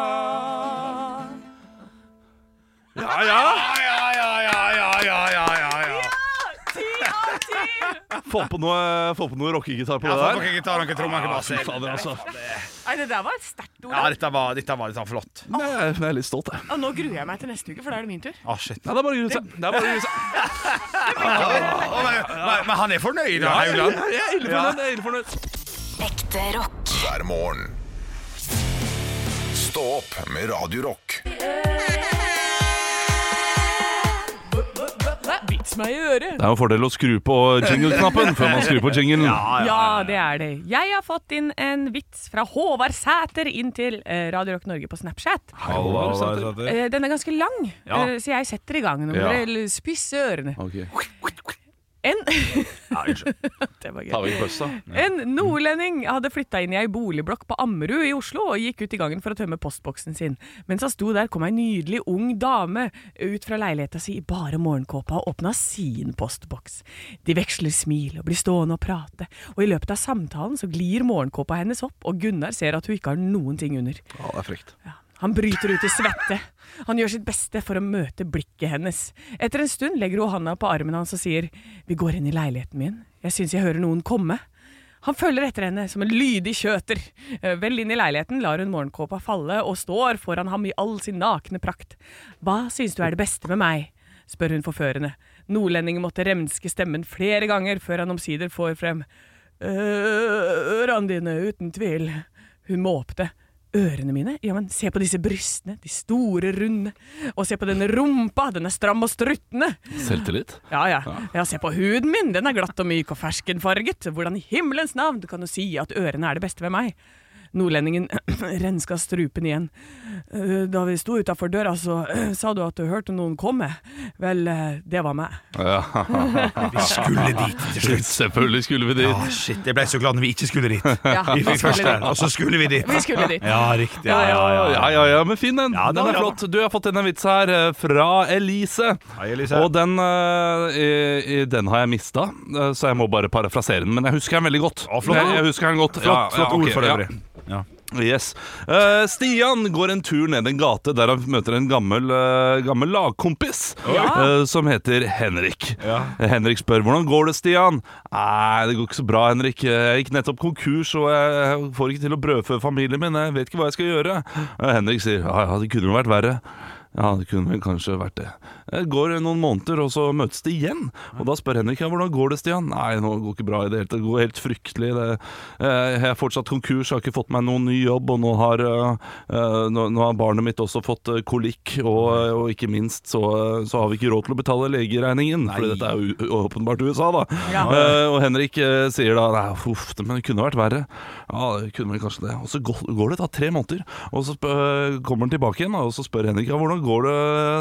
La. Ja, ja.
Ah, Ti av ti!
Få på noe, få på noe rockegitar på det der.
gitar, noen trommer, noen bass.
Fader, altså.
Nei, det der var et sterkt ord.
Ja, dette var, dette var litt sånn flott.
Nei, jeg er litt stolt, jeg.
Og nå gruer jeg meg til neste uke, for da er det min tur.
Ah, shit.
Nei, det er bare å grue seg. Det er bare å grue seg.
men, men- men han er fornøyd, da,
Jeg
Haugland.
er ille fornøyd. Jeg er ille fornøyd.
Ekte rock.
hver morgen. Stå opp med Radio Rock.
Vits meg i øret.
Det er jo en fordel å skru på jingle-knappen før man skrur på jinglen.
Ja, det er det. Jeg har fått inn en vits fra Håvard Sæter inn til eh, Radio Rock Norge på Snapchat. Eh, Den er ganske lang,
Ja.
eh, så jeg setter i gang. Nå må
Ja.
dere spisse ørene.
Ok,
En
Ja, unnskyld.
Det var gøy.
tar vi en pøss, da.
En nordlending hadde flytta inn i ei boligblokk på Ammerud i Oslo og gikk ut i gangen for å tømme postboksen sin. Mens han sto der, kom ei nydelig ung dame ut fra leiligheta si i bare morgenkåpa og åpna sin postboks. De veksler smil og blir stående og prate, og i løpet av samtalen så glir morgenkåpa hennes opp, og Gunnar ser at hun ikke har noen ting under.
Ja, det er frekt.
Ja. Han bryter ut i svette. Han gjør sitt beste for å møte blikket hennes. Etter en stund legger hun handa på armen hans og sier Vi går inn i leiligheten min. Jeg syns jeg hører noen komme. Han følger etter henne som en lydig kjøter. Eh, Vel inn i leiligheten lar hun morgenkåpa falle og står foran ham i all sin nakne prakt. Hva syns du er det beste med meg? spør hun forførende. Nordlendingen måtte remske stemmen flere ganger før han omsider får frem «Øh, Ørene dine, uten tvil. Hun måpte. Ørene mine? Ja, men se på disse brystene, de store, runde. Og se på denne rumpa, den er stram og struttende.
Selvtillit?
Ja, ja. Ja, se på huden min, den er glatt og myk og ferskenfarget. Hvordan i himmelens navn kan du si at ørene er det beste ved meg? Nordlendingen renska strupen igjen. «Eh, Da vi sto utafor døra, så eh, sa du at du hørte noen komme. Vel, eh, det var meg.
Ja.
Skulle dit til slutt.
Selvfølgelig skulle vi dit.
Ah, shit, jeg ble så glad når vi ikke skulle dit.
Ja,
Vi
vi
fikk først
skulle
den,
dit.
og så skulle vi dit.
Vi skulle dit.
Ja, riktig.
Ja, ja, ja, ja, men fin den.
Ja,
den
bra,
er
bra.
flott. Du jeg har fått en vits her eh, fra Elise.
Hei, Elise.
Og den, eh, i- i- den har jeg mista, eh, så jeg må bare parafrasere den. Men jeg husker den veldig godt.
flott.
jeg, jeg husker den godt. Ja,
Flott, flott
ja,
ord
ok,
for
ja.
øvrig. Ja.
Yes. Eh, Stian går en tur ned en gate der han møter en gammel, eh, gammel lagkompis
Ja.
eh, som heter Henrik. Henrik spør hvordan går det, Stian. Nei, det går ikke så bra, Henrik. Jeg gikk nettopp konkurs, og jeg får ikke til å brødfø familien min. Jeg vet ikke hva jeg skal gjøre. Eh, Henrik sier ja, ja, det kunne jo vært verre. Ja, det kunne vel kanskje vært det. Det går noen måneder, og så møtes de igjen. Og da spør Henrik ja, hvordan går det, Stian. Nei, nå går det ikke bra i det hele tatt. Det går helt fryktelig. Det, eh, jeg er fortsatt konkurs, har ikke fått meg noen ny jobb, og nå har, eh, eh, nå, nå har barnet mitt også fått eh, kolikk. Og, og ikke minst så, eh, så har vi ikke råd til å betale legeregningen, for dette er jo u- åpenbart USA, da. Eh, og Henrik eh, sier da nei, uff, det- men det kunne vært verre. Ja, det kunne vel kanskje det. Og så går, går det da tre måneder, og så sp- eh, kommer han tilbake igjen, da, og så spør Henrik ja, hvordan går det,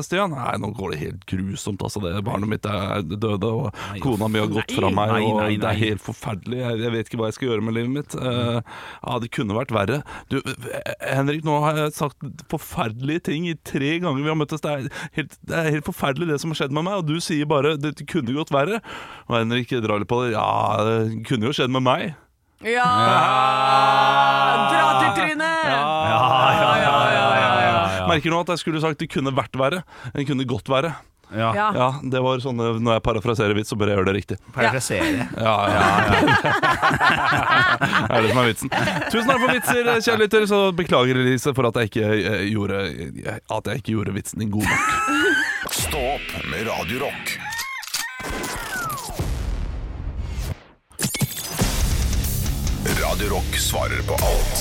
Stian? Nei, nå går det helt grusomt, altså. Det barnet mitt er døde, og kona mi har gått fra meg,
Nei,
og
nei,
det
nei.
er helt forferdelig. Jeg, jeg vet ikke hva jeg skal gjøre med livet mitt. Eh, ja, det kunne vært verre. Du, eh, Henrik, nå har jeg sagt forferdelige ting i tre ganger vi har møttes. Det er helt, det er helt forferdelig det som har skjedd med meg, og du sier bare det kunne gått verre. Og Henrik drar litt på det. Ja, det kunne jo skjedd med meg.
Ja! Dra til trynet!
ja, ja,
ja,
Merker nå at jeg skulle sagt det kunne vært verre. Det kunne godt være.
Ja.
Ja.
Ja, det var sånn eh, når jeg parafraserer vits, så bør jeg gjøre det riktig.
Parafrasere.
Ja, ja, ja. det er det som er vitsen. Tusen takk for vitser, kjære lytter. Så beklager Elise for at jeg ikke eh, gjorde, at jeg ikke gjorde vitsen din god nok.
Stå opp med Radio Rock. Radio Rock svarer på alt.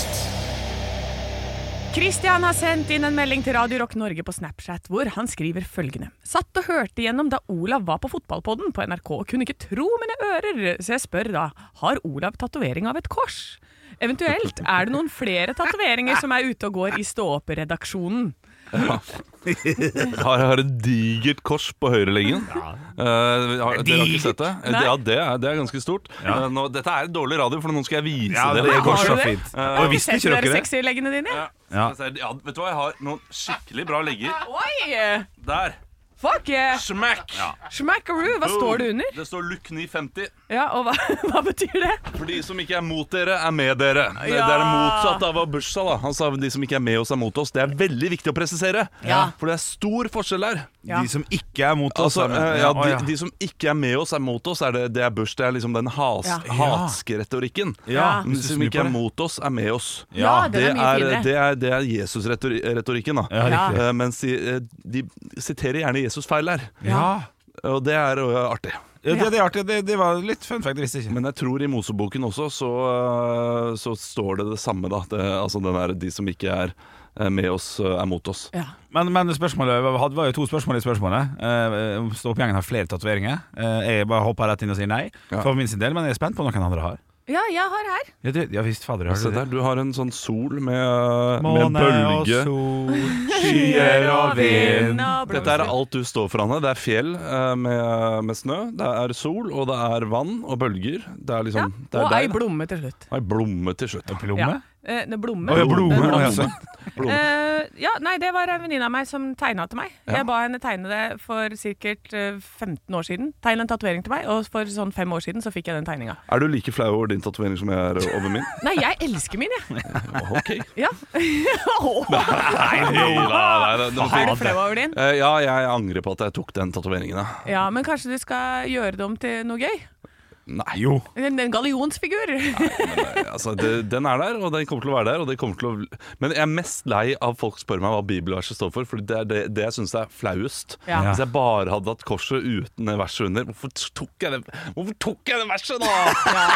Christian har sendt inn en melding til Radio Rock Norge på Snapchat, hvor han skriver følgende. Satt og hørte igjennom da Olav var på fotballpodden på NRK og kunne ikke tro mine ører, så jeg spør da, har Olav tatovering av et kors? Eventuelt er det noen flere tatoveringer som er ute og går i stå-opp-redaksjonen.
Har, har et digert kors på høyrelengen. Ja. har, dere har ikke sett det?
Nei.
Ja, det er, det er ganske stort. Eh, nå, dette er dårlig radio, for nå skal jeg vise
Ja,
dere
det
det
går
korset.
så
Har du det?
fint.
Eh,
Og visste
Sett
ikke
dere
dere det?
sexy leggene dine? Ja.
Ja. ja, vet du hva, jeg har noen skikkelig bra legger.
Oi!
Der.
Fuck yeah!
Smack!
Schmackaroo, hva står det under?
Det står Look 950.
Ja, og hva, hva betyr det?
For de som ikke er mot dere, er med dere. Det,
Ja.
det er det motsatte av hva Bush sa. da Han sa de som ikke er med oss, er mot oss. Det er veldig viktig å presisere.
Ja.
For det er stor forskjell der.
Ja.
De som ikke er mot oss.
Altså,
er med.
eh, ja,
å,
de, de som ikke er med oss, er mot oss. Er det, det er Bush. Det er liksom den has,
Ja.
hatske retorikken.
Ja,
De
hvis du
som
snur
ikke
på
er
det.
mot oss, er med oss.
Ja, den
det
er mye
er,
finere.
det er, det er Jesus-retorikken, da.
Ja. riktig.
Eh, mens de, eh, de siterer gjerne Jesus feil her.
Ja.
Og det er eh, artig.
Ja, det, det er artig. Det, det var litt fun fact, jeg visste ikke.
Men jeg tror i Moseboken også så, øh, så står det det samme, da. Det, altså den er de som ikke er eh, med oss, øh, er mot oss.
Ja.
Men, men spørsmålet var- hadde- var jo to spørsmål i spørsmålet. Eh, om Stå-opp-gjengen har flere tatoveringer. Eh, jeg bare hopper rett inn og sier nei,
Ja.
for min sin del, men jeg er spent på om noen andre har.
ja, jeg har her.
Ja, det, ja visst, fader, har
Se
du
der,
det?
du har en sånn sol med, øh, med en bølge.
sol, skyer og vind
Dette er alt du står for, Anne. Det er fjell eh, med, med snø, det er sol, og det er vann og bølger. Det er liksom det er
Og ei
der.
blomme til slutt.
Ei blomme til slutt. altså.
Plomme?
Eh, det er blomme.
Å, ja, blomme.
Det er
Å, ja,
blomme.
så.
Blomme.
Eh, ja, nei, det var en venninne av meg som tegna til meg. Jeg ba henne tegne det for sikkert eh, 15 år siden. Tegne en tatovering til meg, og for sånn fem år siden så fikk jeg den tegninga.
Er du like flau over din tatovering som jeg er over min?
Nei, jeg elsker min, jeg.
Ok.
Ja.
Nei, nei, nei, det
Er
var
du flau over din?
Eh, Ja, jeg angrer på at jeg tok den tatoveringen. ja.
Ja, men kanskje du skal gjøre det om til noe gøy?
Nei.
Jo.
En, en gallionsfigur?
Altså, det, den er der, og den kommer til å være der. Og det kommer til å... Men jeg er mest lei av folk spør meg hva bibelverset står for, for det er det, det jeg syns er flauest.
Ja.
Hvis jeg bare hadde hatt korset uten det verset under, hvorfor tok jeg det, hvorfor tok jeg det verset da?!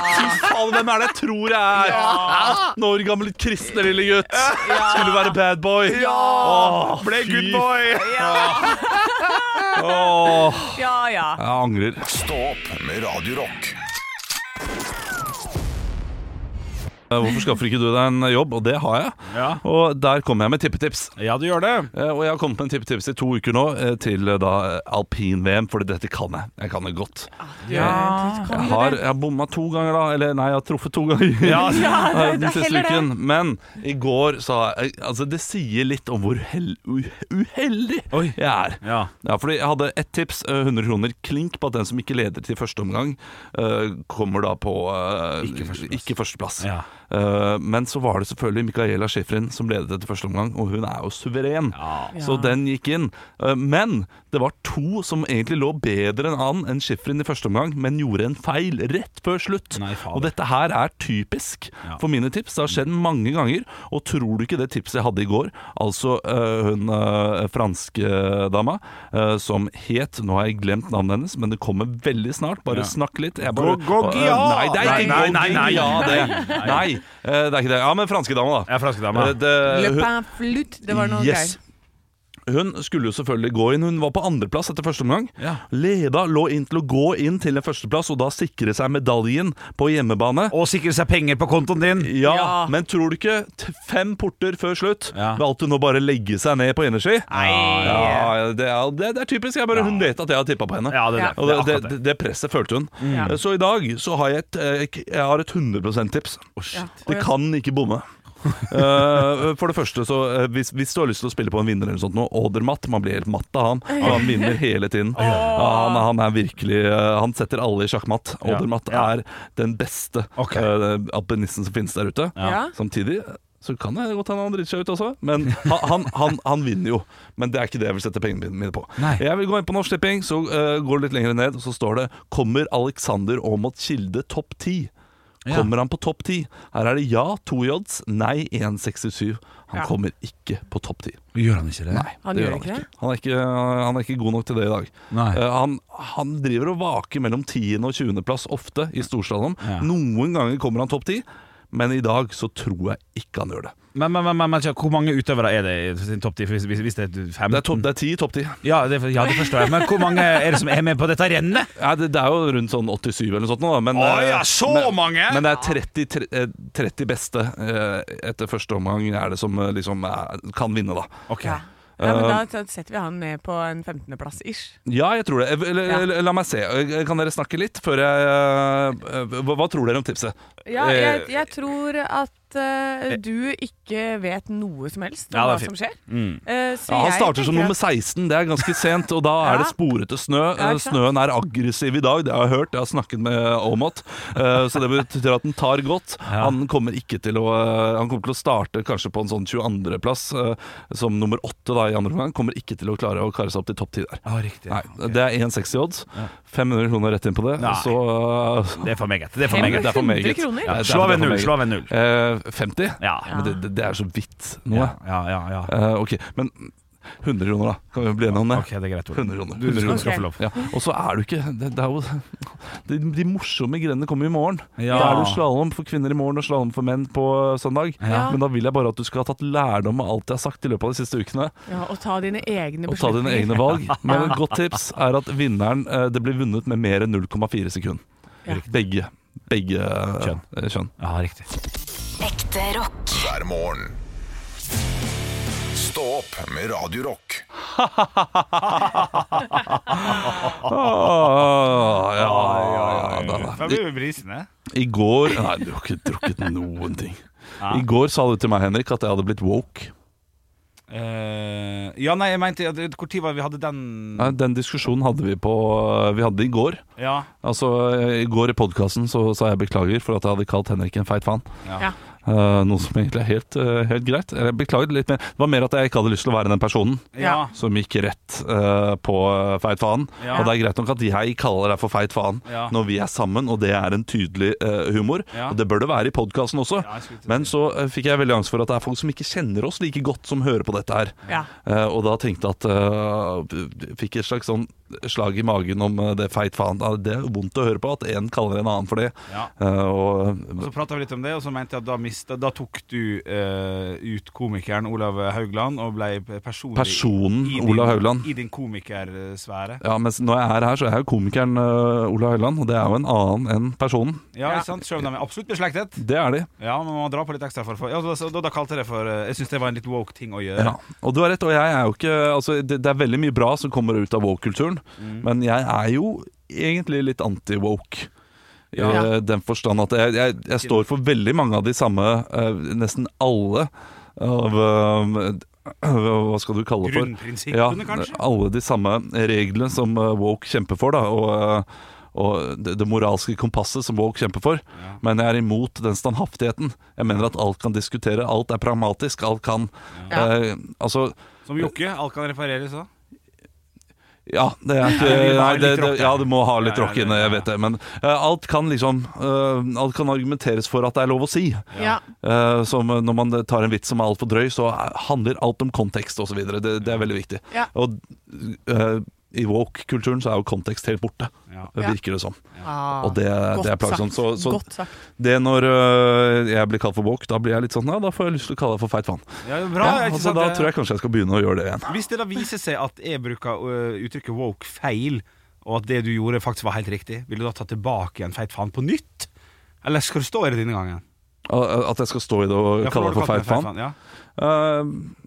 Fy faen, hvem er det jeg tror jeg er?! 18 år gammel kristne lille gutt! Skulle være bad boy! Åh,
Ble
fy
good boy!
f- Åh,
Ja ja.
jeg angrer.
Stå opp med Radio Rock.
Eh, Hvorfor skaffer ikke du deg en jobb? Og det har jeg.
Ja.
Og der kommer jeg med tippetips.
Ja, du gjør det.
Eh, Og jeg har kommet med en tippetips i to uker nå eh, til eh, da eh, alpin-VM, fordi dette kan jeg. Jeg kan det godt.
Ja.
Jeg har, jeg har bomma to ganger, da. Eller nei, jeg har truffet to ganger. Eh,
Ja,
Ja, det,
den
det,
siste
heller det.
uken. Men i går sa jeg Altså, det sier litt om hvor hell, u, uheldig
Oi.
jeg er.
Ja.
Ja, fordi jeg hadde ett tips, eh, 100 kroner klink på at den som ikke leder til første omgang, eh, kommer da på eh,
Ikke førsteplass.
ikke førsteplass.
Ja.
Eh, men så var det selvfølgelig Micaela Schifrin som ledet etter første omgang, og hun er jo suveren. Så den gikk inn. Eh, men det var to som egentlig lå bedre enn han enn Schifrin i første omgang, men gjorde en feil rett før slutt.
Nei, fader.
og dette her er typisk
Ja.
for mine tips. Det har skjedd mange ganger. Og tror du ikke det tipset jeg hadde i går, altså eh, hun uh, franskdama uh, som het Nå har jeg glemt navnet hennes, men det kommer veldig snart. Bare
Ja.
snakk litt. Jeg bare,
Goggia!
Eh, Nei, det er ikke
Nei, nei, nei,
Goggia,
nei.
det. Nei, eh, det er ikke det. Ja, men franskdama, da.
Jeg er flaskedame.
Eh, det-
Le
hun-
pain flûte, det var noe
Yes. Hun skulle jo selvfølgelig gå inn. Hun var på andreplass etter første omgang.
Ja.
Leda lå inn til å gå inn til en førsteplass og da sikre seg medaljen på hjemmebane.
Og sikre seg penger på kontoen din.
Ja,
Ja.
Men tror du ikke t- fem porter før slutt
Ja.
valgte hun å bare legge seg ned på energi?
Nei.
Ja, det, er, det, det er typisk. Jeg bare, Hun vet at jeg har tippa på henne.
Ja, det, er
Ja.
det.
Og
det,
det,
er
det,
akkurat det. Mm.
det presset følte hun.
Ja.
Så i dag så har jeg et, eh, k- jeg har et 100 %-tips.
Ja.
Det kan ikke bomme. Eh, for det første, så eh, hvis, hvis du har lyst til å spille på en vinner eller noe sånt nå, Odermatt Man blir helt matt av han. Han vinner hele tiden. Ja, han, er- han er virkelig eh, Han setter alle i sjakkmatt.
Ja.
Odermatt
Ja.
er den beste
Ok.
eh, alpinisten som finnes der ute.
Ja.
Samtidig så kan det godt hende han driter seg ut også, men han, han, han, han vinner jo. Men det er ikke det jeg vil sette pengene mine på.
Nei.
Jeg vil gå inn på Norsk Tipping, så eh, går det litt lenger ned, og så står det 'Kommer Alexander Aamodt Kilde topp 10'?
Ja.
Kommer han på topp 10? Her er det ja 2 jods, nei 1,67. Han
Ja.
kommer ikke på topp 10.
Gjør han ikke det?
Nei,
Han gjør ikke det?
Han er ikke, han er ikke god nok til det i dag.
Nei.
Eh, han, han driver og vaker mellom 10. og 20. plass ofte i Storstadion.
Ja.
Noen ganger kommer han topp 10, men i dag så tror jeg ikke han gjør det.
Men, men, men, men, men hvor mange utøvere er det i sin topp 10? Hvis, hvis, hvis det er 15?
Det er, topp, det er 10 i topp 10.
Ja, det, ja, det forstår jeg. Men hvor mange er det som er med på dette rennet?
Ja, det, det er jo rundt sånn 87 eller noe sånt. nå, da, Men,
Å
eh,
ja, så
men,
mange!
Men det er 30, tre- eh, 30 beste eh, etter første omgang er det som eh, liksom eh, kan vinne, da.
Ok.
Ja. Ja, men
Eh,
da t- setter vi han ned på en 15.-plass ish.
Ja, jeg tror det. Eh, Eller,
Ja.
eller La meg se. Eh, Kan dere snakke litt før jeg eh, eh, hva, hva tror dere om tipset?
Ja,
Eh,
jeg, jeg tror at eh, du ikke vet noe som helst om
Ja,
hva
det er
som skjer.
Mm.
Eh, så
Ja, han
jeg
starter som
tenker
nummer
at-
16, det er ganske sent, og da
Ja.
er det sporete snø.
Ja,
Eh,
ikke sant?
Snøen er aggressiv i dag, det har jeg hørt, jeg har snakket med Aamodt. Eh, Så det betyr at den tar godt. Han kommer ikke til å eh, Han kommer til å starte kanskje på en sånn 22.-plass som nummer 8 da, i andre omgang. Kommer ikke til å klare å kare seg opp til topp 10 der.
Ja, riktig.
Nei,
Ok.
Det er 1,60 odds. 500 kroner rett inn på det.
Nei.
Så eh,
Det er for meget. Det er for
Fem-
meget.
det er for
100
meget.
kroner?
Ja, det er-
Slå av
det er
en
for
null.
meget.
Slå av en null.
Eh, 50?
Ja.
Men det, det- det er så vidt noe.
Ja, ja, ja. ja.
Eh, ok, men 100 kroner da Kan vi bli enige om det?
Ok, det er greit. Ole.
100 kroner,
Du, du
100
skal,
kroner.
skal få lov.
Ja, og så er du ikke det, det er jo, de, de morsomme grenene kommer i morgen
Ja.
Da er det slalom for kvinner i morgen Og slalom for menn på søndag
Ja.
Men da vil jeg bare at du skal ha tatt lærdom Av alt jeg har sagt i løpet av de siste ukene
Ja, og ta dine egne
Og ta
beslutninger.
dine egne valg Men et godt tips er at vinneren eh, Det blir vunnet med mer enn 0,4 sekund
Ja.
Begge, begge eh,
Kjønn.
eh, kjønn
Ja, riktig.
Ekte rock.
hver morgen. Stå opp med Radio Rock.
ah, ja, ja, ja, ja.
Da blir vi brisende.
I går Nei, du har ikke drukket noen ting. I går sa du til meg, Henrik, at jeg hadde blitt woke.
Eh, ja, nei, jeg mente at- Når var det vi hadde den
Nei, Den diskusjonen hadde vi på eh, Vi hadde det i går.
Ja.
Altså, I går i podkasten sa jeg beklager for at jeg hadde kalt Henrik en feit faen.
Ja.
Eh, noe som egentlig er helt, eh, helt greit. Eller jeg beklaget litt mer. Det var mer at jeg ikke hadde lyst til å være den personen
Ja.
som gikk rett eh, på eh, feit faen.
Ja.
Og det er greit nok at jeg kaller deg for feit faen
Ja.
når vi er sammen, og det er en tydelig eh, humor.
Ja.
Og det bør det være i podkasten også.
Ja, jeg skulle til å
Men så eh, fikk jeg veldig angst for at det er folk som ikke kjenner oss like godt, som hører på dette her.
Ja.
Eh, og da tenkte jeg at eh, Fikk et slags sånn slag i magen om eh, det feit faen. Ah, Det er vondt å høre på at en kaller en annen for det.
Ja.
Eh, og,
Og Så prata vi litt om det, og så mente jeg at da, mista, da tok du eh, ut komikeren Olav Haugland og ble personlig
Personen
i din-
Olav Haugland.
I din komikersfære.
ja, mens når jeg er her, så er jeg jo komikeren eh, Ola Høiland, og det er jo en annen enn personen.
Ja, ikke sant? Selv om de er absolutt beslektet.
Det er de.
Ja, men man drar på litt ekstra for for- ja, da, da, da kalte jeg det for eh, Jeg syns det var en litt woke ting å gjøre.
Ja. Og du har rett, og jeg er jo ikke altså, det, det er veldig mye bra som kommer ut av woke-kulturen, men jeg er jo egentlig litt anti-woke. I
Ja.
eh, den forstand at jeg, jeg, jeg står for veldig mange av de samme eh, Nesten alle av eh, Hva skal du kalle det for?
Grunnprinsippene, kanskje?
Alle de samme reglene som eh, woke kjemper for, da. Og, eh, og det, det moralske kompasset som woke kjemper for. Men jeg er imot den standhaftigheten. Jeg mener at alt kan diskutere, alt er pragmatisk, alt kan eh, Altså,
Som Jokke. Alt kan repareres òg.
ja, det er ikke
vi må ha
nei, det,
litt
det,
rock her.
Ja, du må ha litt
Ja, ja,
rock inne,
det-
jeg vet det. Men eh, alt kan liksom eh, Alt kan argumenteres for at det er lov å si.
Ja.
Eh, som når man tar en vits som er altfor drøy, så handler alt om kontekst osv. Det, det er veldig viktig.
Ja.
Og eh, i woke-kulturen så er jo kontekst helt borte,
Ja.
Det
Ja.
virker det som.
Ah,
Og det,
godt
det er plagsomt. Så,
sagt.
så
Godt sagt.
det når eh, jeg blir kalt for woke, da blir jeg litt sånn Ja, da får jeg lyst til å kalle deg for feit faen.
Ja, bra,
Ja,
ikke
altså,
sant?
da
Det-
tror jeg kanskje jeg skal begynne å gjøre det igjen.
Hvis det da viser seg at jeg bruker øh, uttrykket woke feil, og at det du gjorde faktisk var helt riktig, vil du da ta tilbake en feit faen på nytt? Eller skal du stå i det denne gangen?
eh, At at jeg skal stå i det og
Ja, nå
kalle deg
har du
for
kalt meg
feit faen.
Ja.
Eh,